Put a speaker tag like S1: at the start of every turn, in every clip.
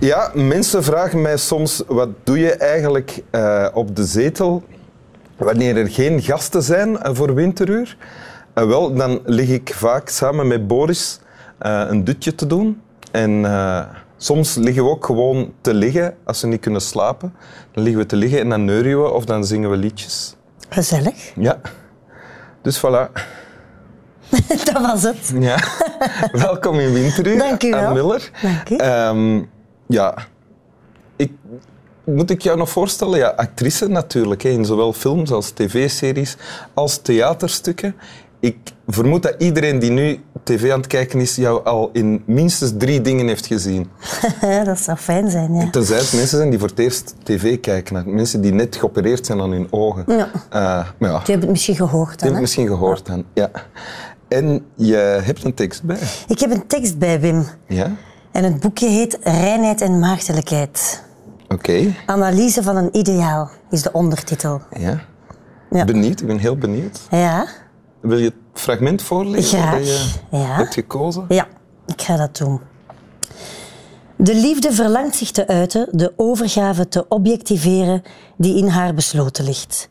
S1: Ja, mensen vragen mij soms, wat doe je eigenlijk eh, op de zetel wanneer er geen gasten zijn eh, voor winteruur? Eh, wel, dan lig ik vaak samen met Boris eh, een dutje te doen. En eh, soms liggen we ook gewoon te liggen, als we niet kunnen slapen. Dan liggen we te liggen en dan neurien we of dan zingen we liedjes.
S2: Gezellig.
S1: Ja. Dus voilà.
S2: Dat was het.
S1: Ja. Welkom in Winteruur,
S2: Dank u wel.
S1: Ann Miller.
S2: Dank u.
S1: Ehm, ja. Ik, moet ik jou nog voorstellen? Ja, actrice natuurlijk, hè, in zowel films als tv-series als theaterstukken. Ik vermoed dat iedereen die nu tv aan het kijken is, jou al in minstens drie dingen heeft gezien.
S2: dat zou fijn zijn, ja.
S1: Tenzij het mensen zijn die voor het eerst tv kijken. Mensen die net geopereerd zijn aan hun ogen.
S2: Ja.
S1: Eh, maar ja,
S2: Je hebt het misschien gehoord
S1: je
S2: dan,
S1: hebt
S2: hè?
S1: misschien gehoord dan. Ja. En je hebt een tekst bij.
S2: Ik heb een tekst bij Wim.
S1: Ja?
S2: En het boekje heet Reinheid en Maagdelijkheid.
S1: Oké.
S2: Analyse van een ideaal is de ondertitel.
S1: Ja.
S2: Ja.
S1: Benieuwd, ik ben heel benieuwd.
S2: Ja?
S1: Wil je het fragment voorlezen
S2: Graag,
S1: dat je
S2: ja.
S1: hebt gekozen?
S2: Ja, ik ga dat doen. De liefde verlangt zich te uiten, de overgave te objectiveren die in haar besloten ligt.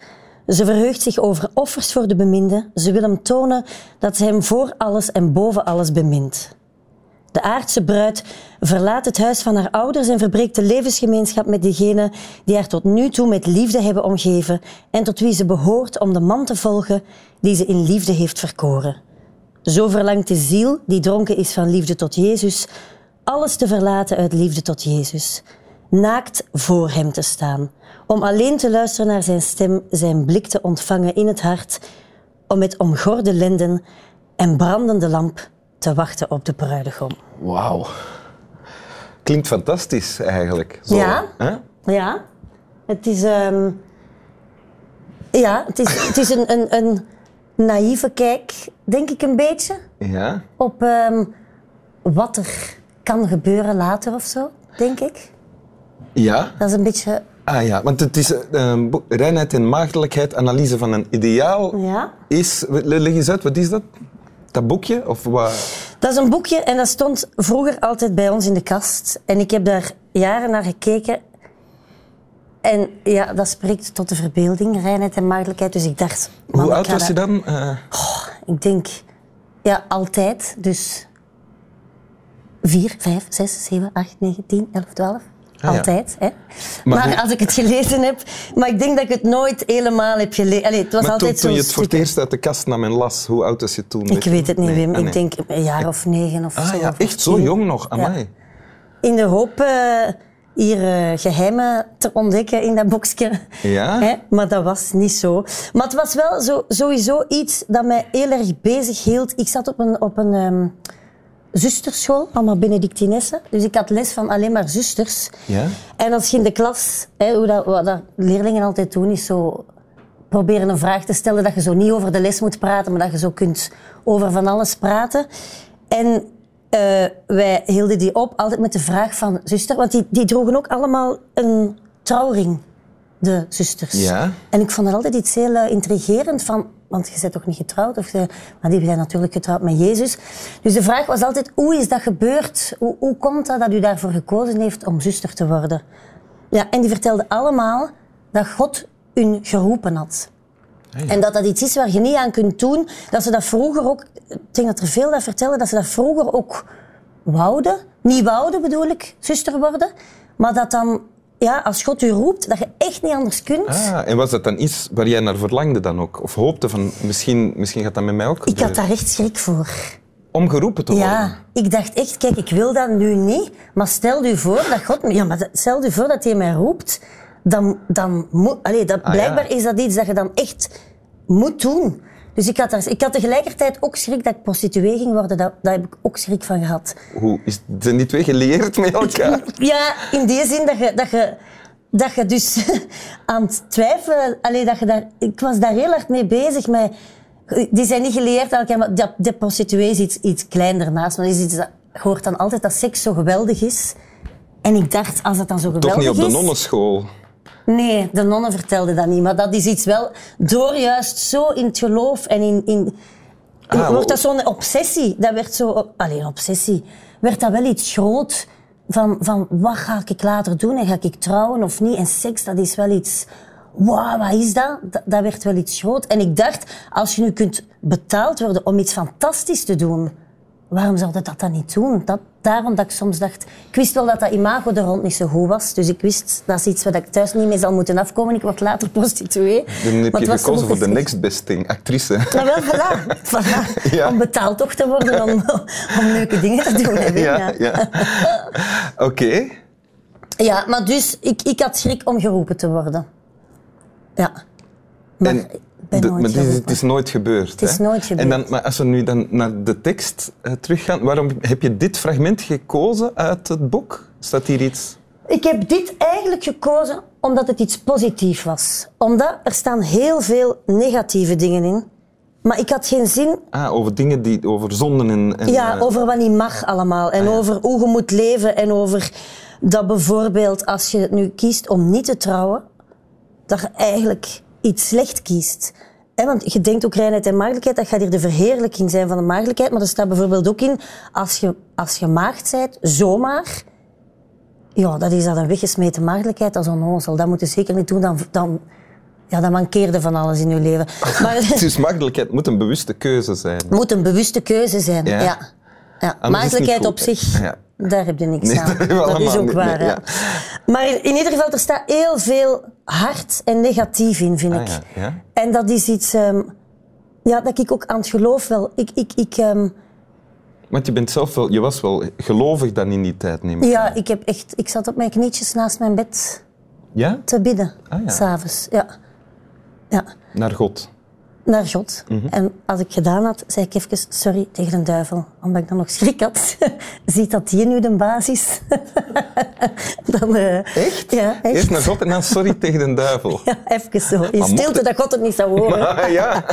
S2: Ze verheugt zich over offers voor de beminde. Ze wil hem tonen dat ze hem voor alles en boven alles bemint. De aardse bruid verlaat het huis van haar ouders en verbreekt de levensgemeenschap met degenen die haar tot nu toe met liefde hebben omgeven en tot wie ze behoort om de man te volgen die ze in liefde heeft verkoren. Zo verlangt de ziel, die dronken is van liefde tot Jezus, alles te verlaten uit liefde tot Jezus. Naakt voor Hem te staan, om alleen te luisteren naar Zijn stem, Zijn blik te ontvangen in het hart, om met omgorde lenden en brandende lamp te wachten op de bruidegom.
S1: Wauw. Klinkt fantastisch eigenlijk. Zo,
S2: Ja.
S1: Hè?
S2: Ja, het is, ehm, ja, het is, het is een, een, een naïeve kijk, denk ik een beetje.
S1: Ja.
S2: op ehm, wat er kan gebeuren later of zo, denk ik.
S1: Ja.
S2: Dat is een beetje,
S1: Ah ja, want het is eh, een boek, Reinheid en Maagdelijkheid, analyse van een ideaal.
S2: ja.
S1: Is, leg eens uit, wat is dat? Dat boekje? Of wat?
S2: Dat is een boekje en dat stond vroeger altijd bij ons in de kast. En ik heb daar jaren naar gekeken. En ja, dat spreekt tot de verbeelding, reinheid en maagdelijkheid. Dus ik dacht, man,
S1: Hoe
S2: ik
S1: oud
S2: ga
S1: was je
S2: dat-
S1: dan? Eh,
S2: Ik denk, ja, altijd. Dus vier, vijf, zes, zeven, acht, negen, tien, elf, twaalf.
S1: Ah, ja.
S2: Altijd, hè.
S1: Maar
S2: Maar,
S1: hoe-
S2: als ik het gelezen heb... Maar ik denk dat ik het nooit helemaal heb gelezen. Allee, het was
S1: maar toen,
S2: altijd
S1: toen
S2: zo'n
S1: je het voor het
S2: stuk-
S1: eerst uit de kast nam en las, hoe oud was je toen? Weet
S2: Ik weet het niet,
S1: Nee.
S2: Wim.
S1: Ah, nee.
S2: Ik denk een jaar of negen of zo.
S1: Ah ja,
S2: of
S1: echt zo
S2: tien.
S1: jong nog? Amai.
S2: In de hoop eh, hier eh, geheimen te ontdekken in dat boekje.
S1: Ja?
S2: Hè? Maar dat was niet zo. Maar het was wel zo, sowieso iets dat mij heel erg bezig hield. Ik zat op een, op een ehm, zusterschool, allemaal Benedictinessen. Dus ik had les van alleen maar zusters.
S1: Ja?
S2: En als je in de klas, hè, hoe dat, wat dat leerlingen altijd doen, is zo proberen een vraag te stellen dat je zo niet over de les moet praten, maar dat je zo kunt over van alles praten. En eh, wij hielden die op altijd met de vraag van zuster, want die, die droegen ook allemaal een trouwring, de zusters.
S1: Ja.
S2: En ik vond dat altijd iets heel eh, intrigerend van, want je bent toch niet getrouwd? Of de, maar die zijn natuurlijk getrouwd met Jezus. Dus de vraag was altijd, hoe is dat gebeurd? Hoe, hoe komt dat dat u daarvoor gekozen heeft om zuster te worden? Ja, en die vertelden allemaal dat God hun geroepen had. En dat dat iets is waar je niet aan kunt doen. Dat ze dat vroeger ook... Ik denk dat er veel dat vertellen, dat ze dat vroeger ook wouden. Niet wouden bedoel ik, zuster worden. Maar dat dan, ja, als God u roept, dat je echt niet anders kunt.
S1: Ah, en was dat dan iets waar jij naar verlangde dan ook? Of hoopte van, misschien, misschien gaat dat met mij ook
S2: Ik had
S1: gebeuren?
S2: daar echt schrik voor.
S1: Om geroepen te worden?
S2: Ja, ik dacht echt, kijk, ik wil dat nu niet. Maar stel u voor dat God... me- Ja, maar dat- stel u voor dat hij mij roept. Dan, dan moet... Allee, dat,
S1: Ah,
S2: blijkbaar
S1: ja.
S2: is dat iets dat je dan echt moet doen. Dus ik had, daar, ik had tegelijkertijd ook schrik dat ik prostituee ging worden. Daar, daar heb ik ook schrik van gehad.
S1: Hoe, is, zijn die twee geleerd met elkaar?
S2: Ja, in die zin dat je, dat je, dat je dus aan het twijfelen... Allee, dat je daar, ik was daar heel hard mee bezig. Met, die zijn niet geleerd aan elkaar, maar de, de prostituee is iets, iets klein daarnaast. Maar dat is iets dat, je hoort dan altijd dat seks zo geweldig is. En ik dacht, als dat dan zo geweldig
S1: Toch
S2: is...
S1: niet op de nonnenschool?
S2: Nee, de nonnen vertelden dat niet. Maar dat is iets wel door juist zo in het geloof en in... in
S1: Ah,
S2: wordt
S1: wel-
S2: dat zo'n obsessie? Dat werd zo... Alleen obsessie. Werd dat wel iets groot? van, van wat ga ik later doen en ga ik trouwen of niet. En seks, dat is wel iets... Wauw, wat is dat? dat? Dat werd wel iets groot. En ik dacht, als je nu kunt betaald worden om iets fantastisch te doen, waarom zou dat dat dan niet doen? Dat, daarom dat ik soms dacht... Ik wist wel dat dat imago er rond niet zo goed was. Dus ik wist, dat is iets wat ik thuis niet mee zal moeten afkomen. Ik word later prostituee.
S1: Dan
S2: Maar
S1: heb
S2: het
S1: je
S2: was
S1: gekozen
S2: zo
S1: voor de
S2: goed
S1: next best thing, actrice.
S2: nou wel, voilà. voilà.
S1: Ja.
S2: Om betaald toch te worden om, om leuke dingen te doen. Hè, Wim, ja.
S1: ja. ja. Oké.
S2: Ja, maar dus ik, ik had schrik om geroepen te worden. Ja. Maar
S1: En
S2: ik ben
S1: de-
S2: nooit
S1: maar dit is,
S2: geroepen.
S1: het is nooit gebeurd. Het
S2: is nooit gebeurd.
S1: En dan, maar als we nu dan naar de tekst eh, teruggaan, waarom heb je dit fragment gekozen uit het boek? Staat hier iets?
S2: Ik heb dit eigenlijk gekozen omdat het iets positiefs was. Omdat er staan heel veel negatieve dingen in. Maar ik had geen zin
S1: Ah, over dingen die over zonden en. en
S2: Ja,
S1: eh, Ah,
S2: over wat niet mag allemaal. En over hoe je moet leven. En over dat bijvoorbeeld als je het nu kiest om niet te trouwen, dat je eigenlijk iets slecht kiest. hè want je denkt ook reinheid en maagdelijkheid, dat gaat hier de verheerlijking zijn van de maagdelijkheid. Maar er staat bijvoorbeeld ook in, als je, als je maagd bent, zomaar, ja, dat is dat een weggesmeten maagdelijkheid, dat is onnozel. Dat moet je zeker niet doen, dan, dan, ja, dan mankeerde van alles in je leven. Maar,
S1: Het is Dus makkelijkheid, het moet een bewuste keuze zijn.
S2: het moet een bewuste keuze zijn.
S1: Ja. Ah,
S2: Ja. ja.
S1: niet
S2: Maagdelijkheid
S1: goed,
S2: op
S1: hè?
S2: zich,
S1: Ja.
S2: daar heb je niks
S1: Nee,
S2: aan.
S1: dat hebben we
S2: Dat is
S1: allemaal
S2: ook
S1: niet,
S2: waar.
S1: nee,
S2: ja. Maar in, in ieder geval, er staat heel veel hard en negatief in, vind
S1: Ah,
S2: ik.
S1: ja, ja.
S2: En dat is iets ehm, ja, dat ik ook aan het geloof wel. Ik, ik, ik, ehm,
S1: Want je, bent zelf wel, je was wel gelovig dan in die tijd, neem ik.
S2: ja, ik, heb echt, ik zat op mijn knietjes naast mijn bed
S1: Ja?
S2: te bidden,
S1: Ah, ja.
S2: s'avonds. Ja. Ja.
S1: Naar God.
S2: naar God.
S1: Mhm.
S2: En als ik gedaan had, zei ik even sorry tegen de duivel, omdat ik dan nog schrik had. Ziet dat die nu de basis? dan, eh,
S1: Echt?
S2: Ja, echt.
S1: Eerst naar God en dan sorry tegen de duivel.
S2: ja, even zo. In
S1: mocht
S2: stilte,
S1: het-
S2: dat God het niet zou horen.
S1: Ah, ja.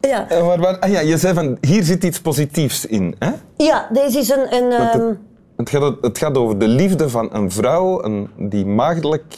S2: Ja.
S1: En waar- waar- ah, ja, je zei van hier zit iets positiefs in. Hè?
S2: ja, deze is een... een
S1: Want
S2: ehm,
S1: het, het, gaat, het gaat over de liefde van een vrouw een, die maagdelijk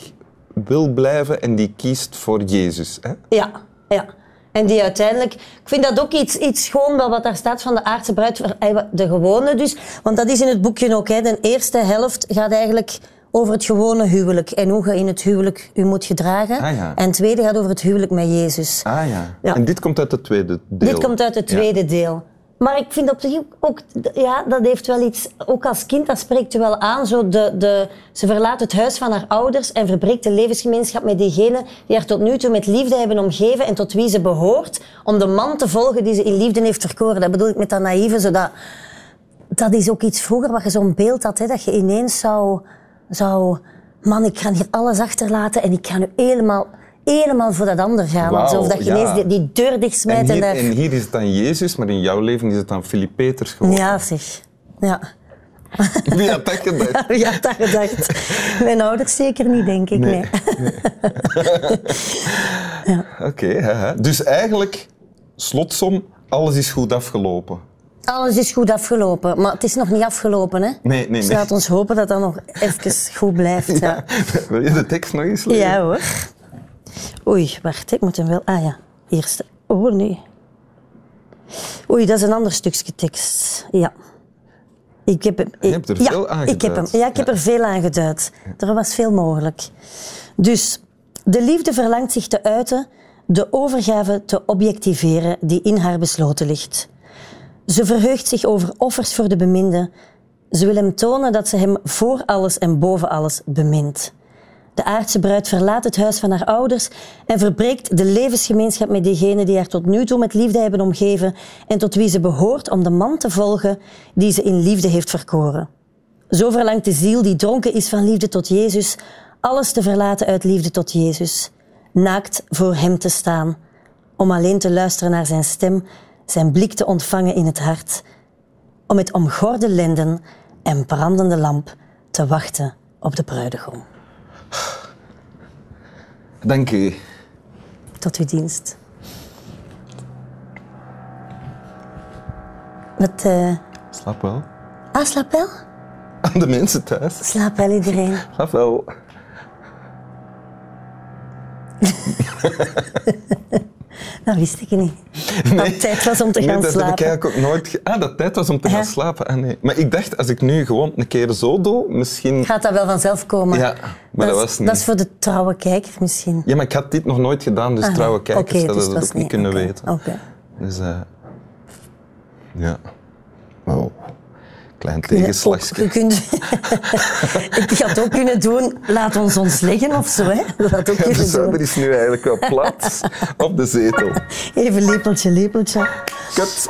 S1: wil blijven en die kiest voor Jezus. Hè?
S2: Ja, ja. En die uiteindelijk... Ik vind dat ook iets, iets schoon wel wat daar staat van de aardse bruid. ver- eh, De gewone dus. Want dat is in het boekje ook. Hè. De eerste helft gaat eigenlijk over het gewone huwelijk. En hoe je in het huwelijk je moet gedragen.
S1: Ah, ja.
S2: En het tweede gaat over het huwelijk met Jezus.
S1: Ah ja.
S2: Ja.
S1: En dit komt uit het tweede deel.
S2: Dit komt uit het
S1: Ja.
S2: tweede deel. Maar ik vind op zich ook- ook, ja, dat heeft wel iets, ook als kind, dat spreekt u wel aan. Zo de, de, ze verlaat het huis van haar ouders en verbreekt de levensgemeenschap met diegenen die haar tot nu toe met liefde hebben omgeven en tot wie ze behoort, om de man te volgen die ze in liefde heeft verkoren. Dat bedoel ik met dat naïeve, zodat, dat is ook iets vroeger wat je zo'n beeld had, hè, dat je ineens zou, zou, man, ik ga hier alles achterlaten en ik ga nu helemaal, helemaal voor dat ander gaan.
S1: Wauw,
S2: Alsof dat je
S1: ja.
S2: ineens die, die deur dichtsmijt
S1: En
S2: en,
S1: hier,
S2: daar...
S1: en hier is het dan Jezus, maar in jouw leven is het dan Filip Peters geworden.
S2: Ja, zeg. Ja.
S1: Wie had dat gedacht?
S2: Wie had dat gedacht? Mijn ouders zeker niet, denk ik. Nee.
S1: Oké, hè, hè. dus eigenlijk, slotsom, alles is goed afgelopen.
S2: Alles is goed afgelopen, maar het is nog niet afgelopen. Hè?
S1: nee, nee.
S2: Dus laat ons hopen dat dat nog even goed blijft. Ja,
S1: Wil je de tekst nog eens
S2: ja.
S1: lezen?
S2: hoor. Oei, wacht, ik moet hem wel... Ah ja, eerste. Oh nee. Oei, dat is een ander stukje tekst. Ja. Ik heb hem,
S1: Je hebt er
S2: ja,
S1: veel aan
S2: ik heb hem,
S1: geduid.
S2: Ja, ik heb er veel aan geduid. Er was veel mogelijk. Dus de liefde verlangt zich te uiten, de overgave te objectiveren die in haar besloten ligt. Ze verheugt zich over offers voor de beminde. Ze wil hem tonen dat ze hem voor alles en boven alles bemint. De aardse bruid verlaat het huis van haar ouders en verbreekt de levensgemeenschap met diegenen die haar tot nu toe met liefde hebben omgeven en tot wie ze behoort om de man te volgen die ze in liefde heeft verkoren. Zo verlangt de ziel die dronken is van liefde tot Jezus, alles te verlaten uit liefde tot Jezus, naakt voor Hem te staan, om alleen te luisteren naar Zijn stem, Zijn blik te ontvangen in het hart, om met omgorde lenden en brandende lamp te wachten op de bruidegom.
S1: Dank u.
S2: Tot uw dienst. Wat, eh...
S1: Slaap wel.
S2: Ah, slaap wel?
S1: Aan de mensen thuis.
S2: Slaap wel iedereen.
S1: Slaap wel.
S2: Dat wist ik niet. dat tijd was om te
S1: Nee,
S2: gaan
S1: dat heb ik
S2: slapen.
S1: eigenlijk ook nooit... ge- Ah, dat tijd was om te
S2: Ja.
S1: gaan slapen. Ah, nee. Maar ik dacht, als ik nu gewoon een keer zo doe, misschien...
S2: Gaat dat wel vanzelf komen?
S1: Ja, maar dat
S2: is-
S1: was niet.
S2: Dat is voor de trouwe kijker misschien.
S1: Ja, maar ik had dit nog nooit gedaan, dus
S2: Ah,
S1: trouwe kijkers
S2: oké,
S1: hadden
S2: dus
S1: dat
S2: was
S1: ook niet kunnen
S2: oké,
S1: weten.
S2: oké.
S1: Dus, eh, ja. Wow. Klein
S2: Ook- Je
S1: tegenslagje.
S2: kunt, ik had ook kunnen doen, laat ons ons leggen of zo. Hè? Dat had ook
S1: Ja, de
S2: kunnen
S1: zomer
S2: doen.
S1: is nu eigenlijk wel plat op de zetel.
S2: Even lepeltje, lepeltje.
S1: Kut.